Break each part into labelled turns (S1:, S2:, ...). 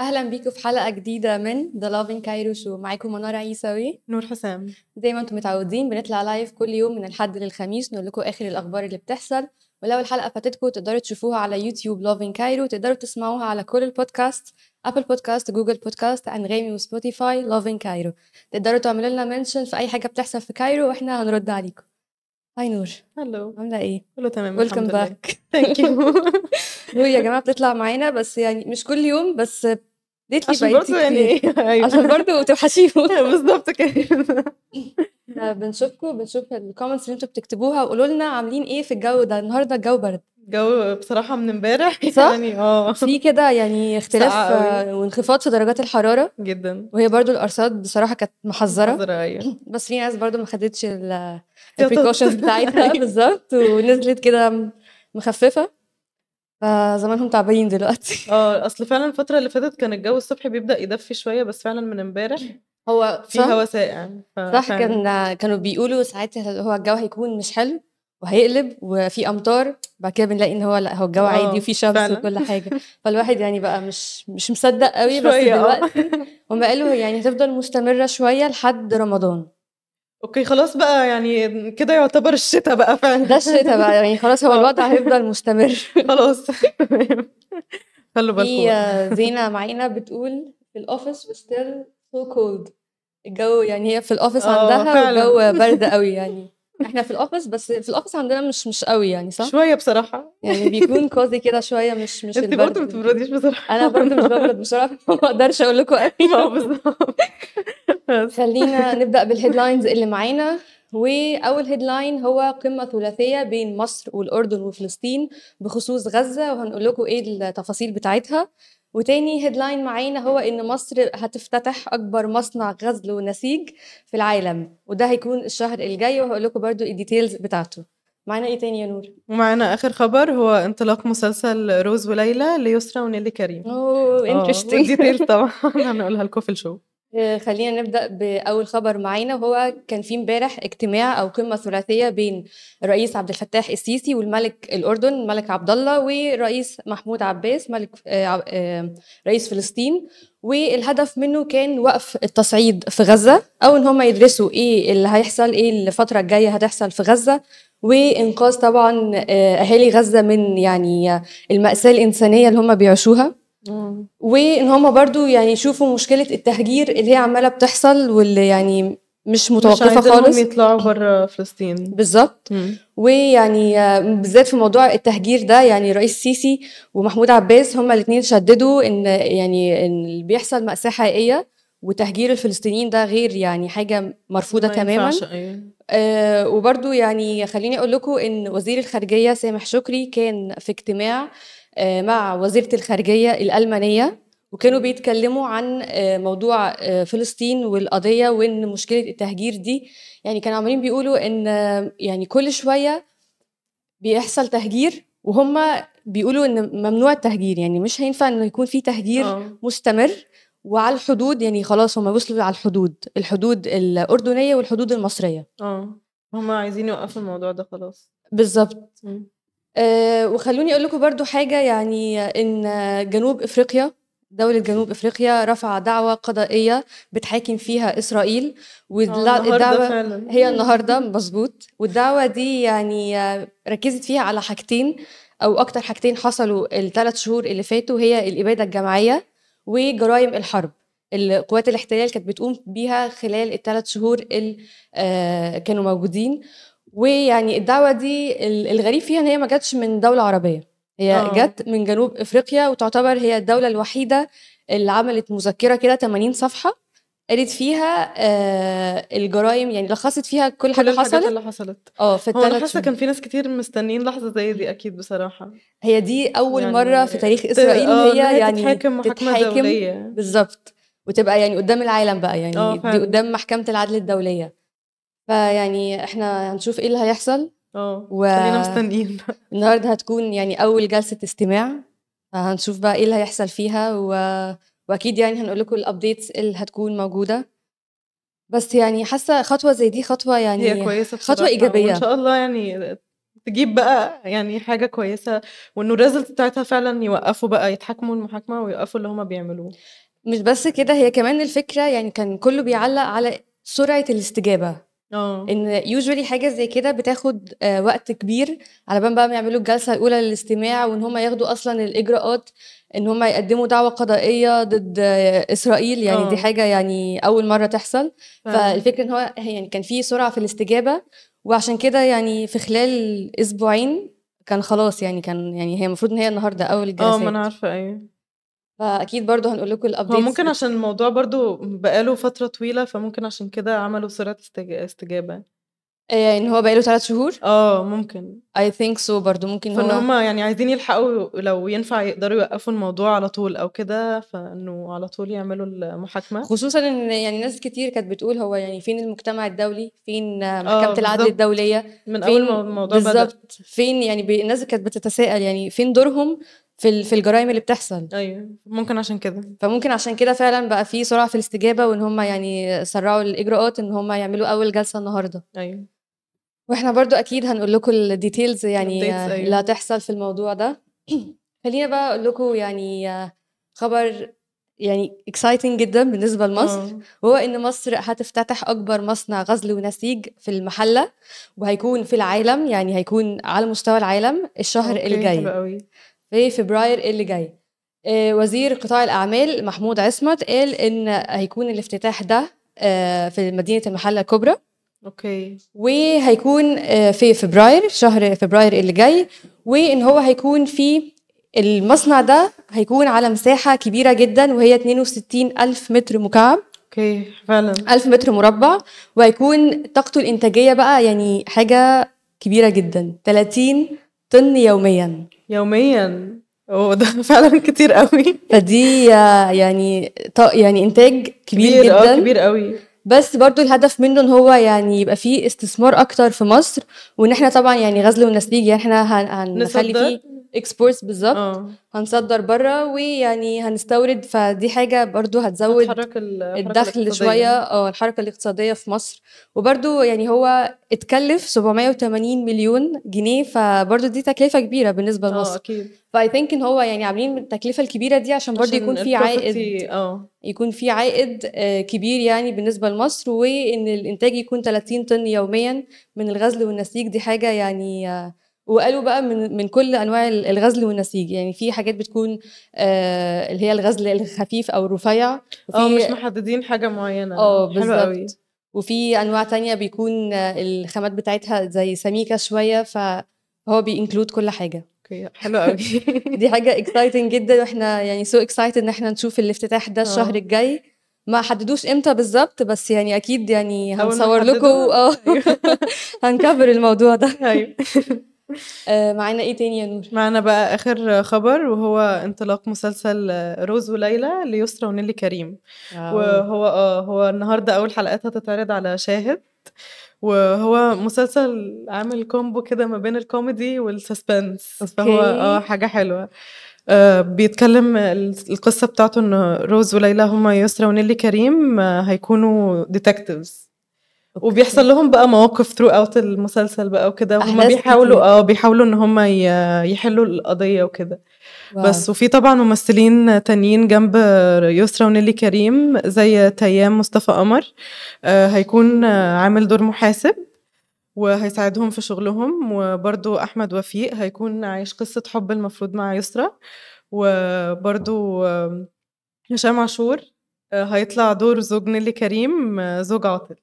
S1: اهلا بيكم في حلقه جديده من ذا لافين كايرو شو معاكم منار عيسوي
S2: نور حسام
S1: زي ما انتم متعودين بنطلع لايف كل يوم من الحد للخميس نقول لكم اخر الاخبار اللي بتحصل ولو الحلقه فاتتكم تقدروا تشوفوها على يوتيوب لافين كايرو تقدروا تسمعوها على كل البودكاست ابل بودكاست جوجل بودكاست انغامي وسبوتيفاي لافين كايرو تقدروا تعملوا لنا منشن في اي حاجه بتحصل في كايرو واحنا هنرد عليكم هاي نور
S2: هلو
S1: عامله ايه
S2: كله تمام
S1: ويلكم
S2: باك
S1: باك
S2: ثانك يو
S1: نور يا جماعه بتطلع معانا بس يعني مش كل يوم بس ليتلي
S2: عشان
S1: بقيتي
S2: برضه يعني
S1: كتير.
S2: ايه أيوة.
S1: عشان برضه توحشيهم
S2: بالظبط كده
S1: بنشوفكم بنشوف الكومنتس اللي انتوا بتكتبوها وقولوا لنا عاملين ايه في الجو ده النهارده الجو برد
S2: الجو بصراحه من امبارح
S1: صح؟
S2: يعني اه
S1: في كده يعني اختلاف
S2: ساقعة قوي.
S1: آه، وانخفاض في درجات الحراره
S2: جدا
S1: وهي برضو الارصاد بصراحه كانت محذره
S2: حذرة، ايوه
S1: بس في ناس برضو ما خدتش ال-
S2: احتياطات.
S1: البريكوشنز بتاعتها
S2: أيوة.
S1: بالظبط ونزلت كده مخففه فزمانهم تعبانين دلوقتي
S2: اه اصل فعلا الفتره اللي فاتت كان الجو الصبح بيبدا يدفي شويه بس فعلا من امبارح
S1: هو
S2: في هوا ساقع ف-
S1: صح
S2: فعلا.
S1: كان كانوا بيقولوا ساعتها هو الجو هيكون مش حلو وهيقلب وفي امطار بعد كده بنلاقي ان هو لا هو الجو
S2: آه،
S1: عادي وفي شمس
S2: فعلا.
S1: وكل حاجه فالواحد يعني بقى مش مش مصدق قوي بس
S2: شوية، آه.
S1: دلوقتي هم قالوا يعني هتفضل مستمره شويه لحد رمضان
S2: اوكي خلاص بقى يعني كده يعتبر الشتاء بقى فعلا
S1: ده الشتاء بقى يعني خلاص هو
S2: آه.
S1: الوضع هيفضل مستمر
S2: خلاص خلوا بالكم
S1: في
S2: بقى.
S1: آه، زينه معانا بتقول في الاوفيس وستيل سو كولد الجو يعني هي في الاوفيس
S2: آه،
S1: عندها
S2: فعلا.
S1: والجو برد قوي يعني احنا في الاوفيس بس في الاوفيس عندنا مش مش قوي يعني صح
S2: شويه بصراحه
S1: يعني بيكون كوزي كده شويه مش مش
S2: انت برضه ما
S1: البرد.
S2: بتبرديش بصراحه
S1: انا برضه مش ببرد بسرعه فما اقدرش اقول لكم
S2: اه
S1: قوي
S2: بالظبط بس.
S1: خلينا نبدا بالهيدلاينز اللي معانا واول هيدلاين هو قمه ثلاثيه بين مصر والاردن وفلسطين بخصوص غزه وهنقول لكم ايه التفاصيل بتاعتها وتاني هيدلاين معانا هو ان مصر هتفتتح اكبر مصنع غزل ونسيج في العالم وده هيكون الشهر الجاي وهقول لكم برضو الديتيلز بتاعته معانا ايه تاني يا نور
S2: ومعانا اخر خبر هو انطلاق مسلسل روز وليلى ليسرى ونيلي كريم
S1: اوه انترستنج
S2: ديتيل طبعا هنقولها لكم في الشو
S1: آه، خلينا نبدأ بأول خبر معانا وهو كان في امبارح اجتماع أو قمة ثلاثية بين الرئيس عبد الفتاح السيسي والملك الأردن الملك عبد الله ورئيس محمود عباس ملك آه، عب- آه، رئيس فلسطين والهدف منه كان وقف التصعيد في غزة أو إن هم يدرسوا إيه اللي هيحصل إيه الفترة الجاية هتحصل في غزة وإنقاذ طبعا آه، أهالي غزة من يعني المأساة الإنسانية اللي هم بيعيشوها وان هما برضو يعني يشوفوا مشكله التهجير اللي هي عماله بتحصل واللي يعني مش متوقفه
S2: مش خالص
S1: خالص
S2: يطلعوا بره فلسطين
S1: بالظبط
S2: مم.
S1: ويعني آه، بالذات في موضوع التهجير ده يعني رئيس سيسي ومحمود عباس هما الاثنين شددوا ان يعني ان اللي بيحصل ماساه حقيقيه وتهجير الفلسطينيين ده غير يعني حاجه مرفوضه
S2: ما
S1: تماما
S2: ينفعش، أيوة.
S1: آه، وبرضو يعني خليني أقول لكم إن وزير الخارجية سامح شكري كان في اجتماع آه، مع وزيرة الخارجية الألمانية وكانوا بيتكلموا عن آه، موضوع آه، فلسطين والقضية وإن مشكلة التهجير دي يعني كانوا عمالين بيقولوا إن آه، يعني كل شوية بيحصل تهجير وهم بيقولوا إن ممنوع التهجير يعني مش هينفع إنه يكون في تهجير
S2: آه.
S1: مستمر وعلى الحدود يعني خلاص هم وصلوا على الحدود الحدود الأردنية والحدود المصرية
S2: اه هما عايزين يوقفوا الموضوع ده خلاص
S1: بالظبط
S2: مم.
S1: أه وخلوني اقول لكم برضو حاجه يعني ان جنوب افريقيا دوله جنوب افريقيا رفع دعوه قضائيه بتحاكم فيها اسرائيل
S2: آه، النهاردة
S1: والدعوه
S2: فعلا
S1: هي النهارده مظبوط والدعوه دي يعني آه، ركزت فيها على حاجتين او اكتر حاجتين حصلوا الثلاث شهور اللي فاتوا هي الاباده الجماعيه وجرائم الحرب اللي قوات الاحتلال كانت بتقوم بيها خلال الثلاث شهور اللي آه، كانوا موجودين ويعني الدعوه دي ال- الغريب فيها ان هي ما جاتش من دوله عربيه هي
S2: آه.
S1: جت من جنوب افريقيا وتعتبر هي الدوله الوحيده اللي عملت مذكره كده 80 صفحه قالت فيها آه الجرائم يعني لخصت فيها كل
S2: كل
S1: حاجه
S2: الحاجات
S1: حصلت
S2: اللي حصلت
S1: اه في
S2: هو انا
S1: الثلاث
S2: حاسه
S1: شهور
S2: كان في ناس كتير مستنيين لحظه زي دي اكيد بصراحه
S1: هي دي اول
S2: يعني
S1: مره في تاريخ
S2: ت-
S1: اسرائيل
S2: آه،
S1: ان
S2: إن
S1: هي يعني
S2: تتحاكم محاكمه
S1: تتحاكم
S2: دوليه
S1: بالظبط وتبقى يعني قدام العالم بقى
S2: آه،
S1: يعني دي
S2: فعلا.
S1: قدام محكمه العدل الدوليه فيعني احنا هنشوف ايه اللي هيحصل
S2: اه
S1: و-
S2: خلينا مستنيين
S1: النهارده هتكون يعني أول جلسة استماع هنشوف بقى إيه اللي هيحصل فيها و... وأكيد يعني هنقول لكم الأبديتس اللي هتكون موجودة بس يعني حاسة خطوة زي دي خطوة يعني
S2: هي كويسه
S1: خطوة
S2: بصراحة،
S1: إيجابية.
S2: وان شاء الله يعني تجيب بقى يعني حاجه كويسه وانه الريزلت بتاعتها فعلا يوقفوا بقى يتحاكموا المحاكمه ويوقفوا اللي هما بيعملوه
S1: مش بس كده هي كمان الفكرة يعني كان كله بيعلق على سرعة الاستجابة
S2: اه
S1: ان يوجوالي حاجه زي كده بتاخد آه، وقت كبير على بال بقى ما يعملوا الجلسه الاولى للاستماع وان هم ياخدوا اصلا الاجراءات ان هم يقدموا دعوه قضائيه ضد آه، اسرائيل يعني دي
S2: آه.
S1: حاجه يعني اول مره تحصل
S2: فعلاً.
S1: فالفكره ان هو يعني كان في سرعه في الاستجابه وعشان كده يعني في خلال اسبوعين كان خلاص يعني كان يعني هي المفروض ان هي النهارده اول
S2: اه ما
S1: الجلسات
S2: انا عارفه ايوه
S1: فاكيد برضو هنقول لكم الابديتس
S2: هو ممكن عشان الموضوع برضو بقاله فتره طويله فممكن عشان كده عملوا سرعه استج- استجابه
S1: آه، ان هو بقاله ثلاث شهور
S2: اه ممكن
S1: اي ثينك سو برضو ممكن
S2: فان
S1: هو
S2: هم يعني عايزين يلحقوا لو ينفع يقدروا يوقفوا الموضوع على طول او كده فانه على طول يعملوا المحاكمه
S1: خصوصا ان يعني ناس كتير كانت بتقول هو يعني فين المجتمع الدولي فين آه،
S2: آه،
S1: محكمة العدل
S2: بالظبط.
S1: الدولية
S2: من اول
S1: فين
S2: ما الموضوع بدأ
S1: بالظبط فين يعني بي... الناس كانت بتتساءل يعني فين دورهم في ال... في الجرائم اللي بتحصل
S2: ايوه ممكن عشان كده
S1: فممكن عشان كده فعلا بقى في سرعة في الاستجابة وان هم يعني سرعوا الاجراءات ان هم يعملوا اول جلسة النهاردة
S2: ايوه
S1: واحنا برضو اكيد هنقول لكم الديتيلز يعني
S2: Updates،
S1: آه،
S2: أيوة.
S1: اللي هتحصل في الموضوع ده خلينا بقى اقول لكم يعني آه، خبر يعني exciting جدا بالنسبة لمصر
S2: آه.
S1: وهو إن مصر هتفتتح أكبر مصنع غزل ونسيج في المحلة وهيكون في العالم يعني هيكون على مستوى العالم الشهر
S2: اوكي حلو
S1: الجاي
S2: قوي
S1: في فبراير اللي جاي آه، وزير قطاع الأعمال محمود عصمت قال إن هيكون الافتتاح ده آه، في مدينة المحلة الكبرى
S2: اوكي
S1: وهيكون آه، في فبراير شهر فبراير اللي جاي وإن هو هيكون في المصنع ده هيكون على مساحة كبيرة جدا وهي 62 ألف متر مكعب
S2: اوكي فعلا
S1: ألف متر مربع وهيكون طاقته الإنتاجية بقى يعني حاجة كبيرة جدا 30 طن يوميا
S2: يوميا هو ده فعلا كتير قوي
S1: فدي آه، يعني طا- يعني إنتاج كبير, كبير
S2: اه
S1: جدا
S2: كبير قوي
S1: بس برضو الهدف منه ان هو يعني يبقى فيه استثمار اكتر في مصر وان احنا طبعا يعني غزل ونسيج يعني احنا هن- هنخلي
S2: نصدر
S1: فيه اكسبورتس بالظبط
S2: اه
S1: هنصدر بره ويعني هنستورد فدي حاجة برضو هتزود
S2: هتحرك ال- الحركة
S1: الدخل
S2: الاقتصادية.
S1: شويه اه الحركه الاقتصاديه في مصر وبرده يعني هو اتكلف 780 مليون جنيه فبرده دي تكلفه كبيره بالنسبه
S2: اه
S1: لمصر
S2: اكيد
S1: فاي ثينك ان هو يعني عاملين التكلفه الكبيره دي عشان برده
S2: عشان
S1: يكون في
S2: ال
S1: عائد
S2: property، اه
S1: يكون في عائد آه، كبير يعني بالنسبه لمصر وان الانتاج يكون 30 طن يوميا من الغزل والنسيج دي حاجه يعني آه، وقالوا بقى من من كل انواع ال- الغزل والنسيج يعني في حاجات بتكون آه، اللي هي الغزل الخفيف او الرفيع
S2: اه
S1: وفي
S2: مش محددين حاجة معينة آه،
S1: اه
S2: حلو قوي
S1: بالظبط وفي انواع تانية بيكون آه، الخامات بتاعتها زي سميكة شوية فهو بينكلود كل حاجة
S2: اوكي حلو قوي
S1: دي حاجة اكسايتنج جدا واحنا يعني سو اكسايتد ان احنا نشوف الافتتاح ده الشهر
S2: اه.
S1: الجاي ما حددوش امتى بالظبط بس يعني اكيد يعني
S2: أول ما
S1: هنصور لكم
S2: نحدده،
S1: اه
S2: ايوه
S1: هنكبر الموضوع ده
S2: ايوه
S1: آه، معانا ايه تاني يا نور
S2: معنا بقى آخر خبر وهو انطلاق مسلسل آه، روز وليلى ليسرى ونيلي كريم وهو اه هو النهارده اول حلقات هتتعرض على شاهد وهو مسلسل عامل كومبو كده ما بين الكوميدي والسسبنس فهو
S1: أوكي.
S2: اه حاجه حلوه آه بيتكلم ال- القصه بتاعته ان روز وليلى هما يسرا ونيلي كريم آه هيكونوا ديتكتيفز
S1: أوكي.
S2: وبيحصل لهم بقى مواقف ثرو اوت المسلسل بقى وكده وهم
S1: أحداث
S2: بيحاولوا
S1: كتير.
S2: اه بيحاولوا ان هم يحلوا القضيه وكده
S1: واو.
S2: بس وفي طبعا ممثلين تانيين جنب يسرا ونيلي كريم زي تيام مصطفى قمر آه، هيكون آه، عامل دور محاسب وهيساعدهم في شغلهم وبرضو أحمد وفيق هيكون عايش قصة حب المفروض مع يسرا وبرضو آم، هشام عاشور آه، هيطلع دور زوج نيلي كريم آه، زوج عاطل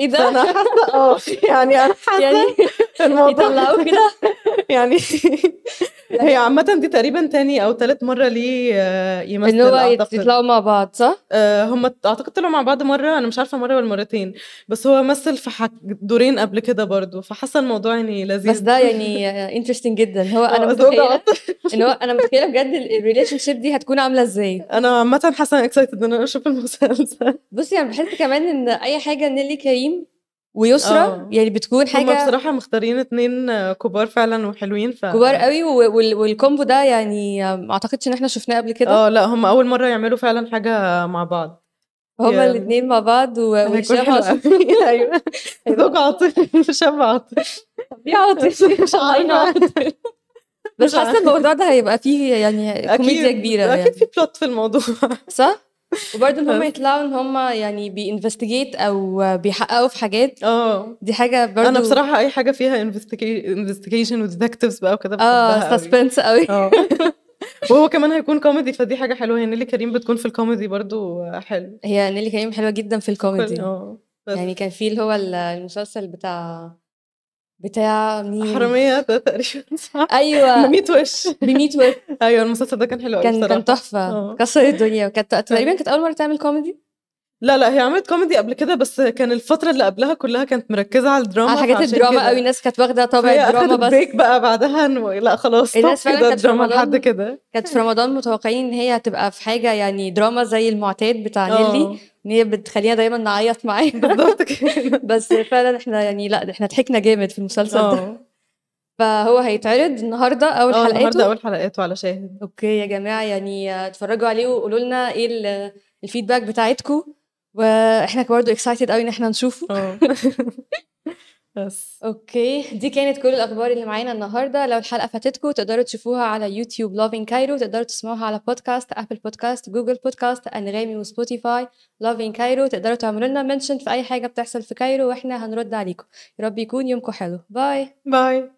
S1: ايه
S2: فأنا
S1: ده
S2: حاسة اه يعني أنا
S1: يعني
S2: حاسة الموضوع
S1: يطلعوه كده
S2: يعني هي عامة دي تقريبا تاني أو تالت مرة ليه آه، يمثل
S1: ان هو يت-
S2: أعتقد
S1: يطلعوا مع بعض صح
S2: آه، هم اعتقد طلعوا مع بعض مره انا مش عارفه مره ولا مرتين بس هو مثل في حك... دورين قبل كده برضو فحاسه الموضوع يعني لذيذ
S1: بس ده يعني انترستنج جدا هو انا
S2: آه، زوجة
S1: متخيله
S2: عاطل.
S1: ان هو انا متخيله بجد الريليشن شيب دي هتكون عامله ازاي
S2: انا عامه حاسه اكسايتد ان انا اشوف المسلسل
S1: بصي انا بحس كمان ان اي حاجه نيلي كريم ويسرا
S2: آه.
S1: يعني بتكون
S2: هم
S1: حاجه
S2: بصراحه مختارين اتنين آه، كبار فعلا وحلوين ف
S1: كبار قوي و- وال- والكومبو ده يعني ما اعتقدش ان احنا شفناه قبل كده
S2: اه لا هم اول مره يعملوا فعلا حاجه مع بعط
S1: هما
S2: يا-
S1: الاثنين مع بعض و-
S2: هيكون
S1: وهشام
S2: حلو
S1: عاشور
S2: قوي
S1: أيوه.
S2: ايوه زوج عاطل شاب عاطل
S1: يا عاطل
S2: مش
S1: عين
S2: عارفه
S1: عاطل. بس
S2: مش عارفة.
S1: حاسه الموضوع ده هيبقى فيه يعني كوميديا
S2: اكيد
S1: كبيره
S2: اكيد
S1: يعني
S2: في بلوت في الموضوع
S1: صح وبرضه ان هم يطلعوا ان هم يعني بينفستيجيت او بيحققوا في حاجات
S2: اه
S1: دي حاجه برضه
S2: انا بصراحه اي حاجه فيها انفستيجيشن وديتكتيفز بقى وكده
S1: اه
S2: بحبها أوي.
S1: سسبنس قوي
S2: اه وهو كمان هيكون كوميدي فدي حاجه حلوه هي نيلي كريم بتكون في الكوميدي برضو حلو
S1: هي نيلي كريم حلوه جدا في الكوميدي
S2: اه بس
S1: يعني كان في اللي هو ال- المسلسل بتاع بتاع مين
S2: حراميه ده تقريبا صح
S1: ايوه
S2: مميت وش
S1: بميت ويف
S2: ايوه المسلسل ده كان حلو أوي
S1: كان كان
S2: بصراحه
S1: تحفه
S2: آه.
S1: كسر الدنيا وكانت تقريبا كانت اول مره تعمل كوميدي
S2: لا لا هي عملت كوميدي قبل كده بس كان الفتره اللي قبلها كلها كانت مركزه على الدراما
S1: على آه، حاجات
S2: فعشان
S1: الدراما
S2: كده.
S1: قوي الناس كانت واخده طابع
S2: فهي
S1: الدراما
S2: أخدت
S1: بس
S2: بريك بقى بعدها انه لا خلاص
S1: الناس
S2: طب
S1: فعلا
S2: كده
S1: كانت في
S2: دراما لحد
S1: رمضان
S2: كده
S1: كانت في رمضان متوقعين ان هي هتبقى في حاجه يعني دراما زي المعتاد بتاع نيلي
S2: آه،
S1: ان هي بتخلينا دايما نعيط معاها
S2: بالظبط كده
S1: بس فعلا احنا يعني لا احنا ضحكنا جامد في المسلسل ده
S2: اه
S1: فهو هيتعرض النهارده اول
S2: اه
S1: حلقاته
S2: النهارده اول حلقاته على شاهد
S1: اوكي يا جماعه يعني اتفرجوا عليه وقولوا لنا ايه ال- الفيدباك بتاعتكم واحنا برضه اكسايتد قوي ان احنا نشوفه
S2: اه بس
S1: اوكي دي كانت كل الاخبار اللي معانا النهارده لو الحلقه فاتتكم تقدروا تشوفوها على يوتيوب لافين كايرو تقدروا تسمعوها على بودكاست ابل بودكاست جوجل بودكاست انغامي وسبوتيفاي لافين كايرو تقدروا تعملوا لنا منشن في اي حاجه بتحصل في كايرو واحنا هنرد عليكم يا رب يكون يومكم حلو باي
S2: باي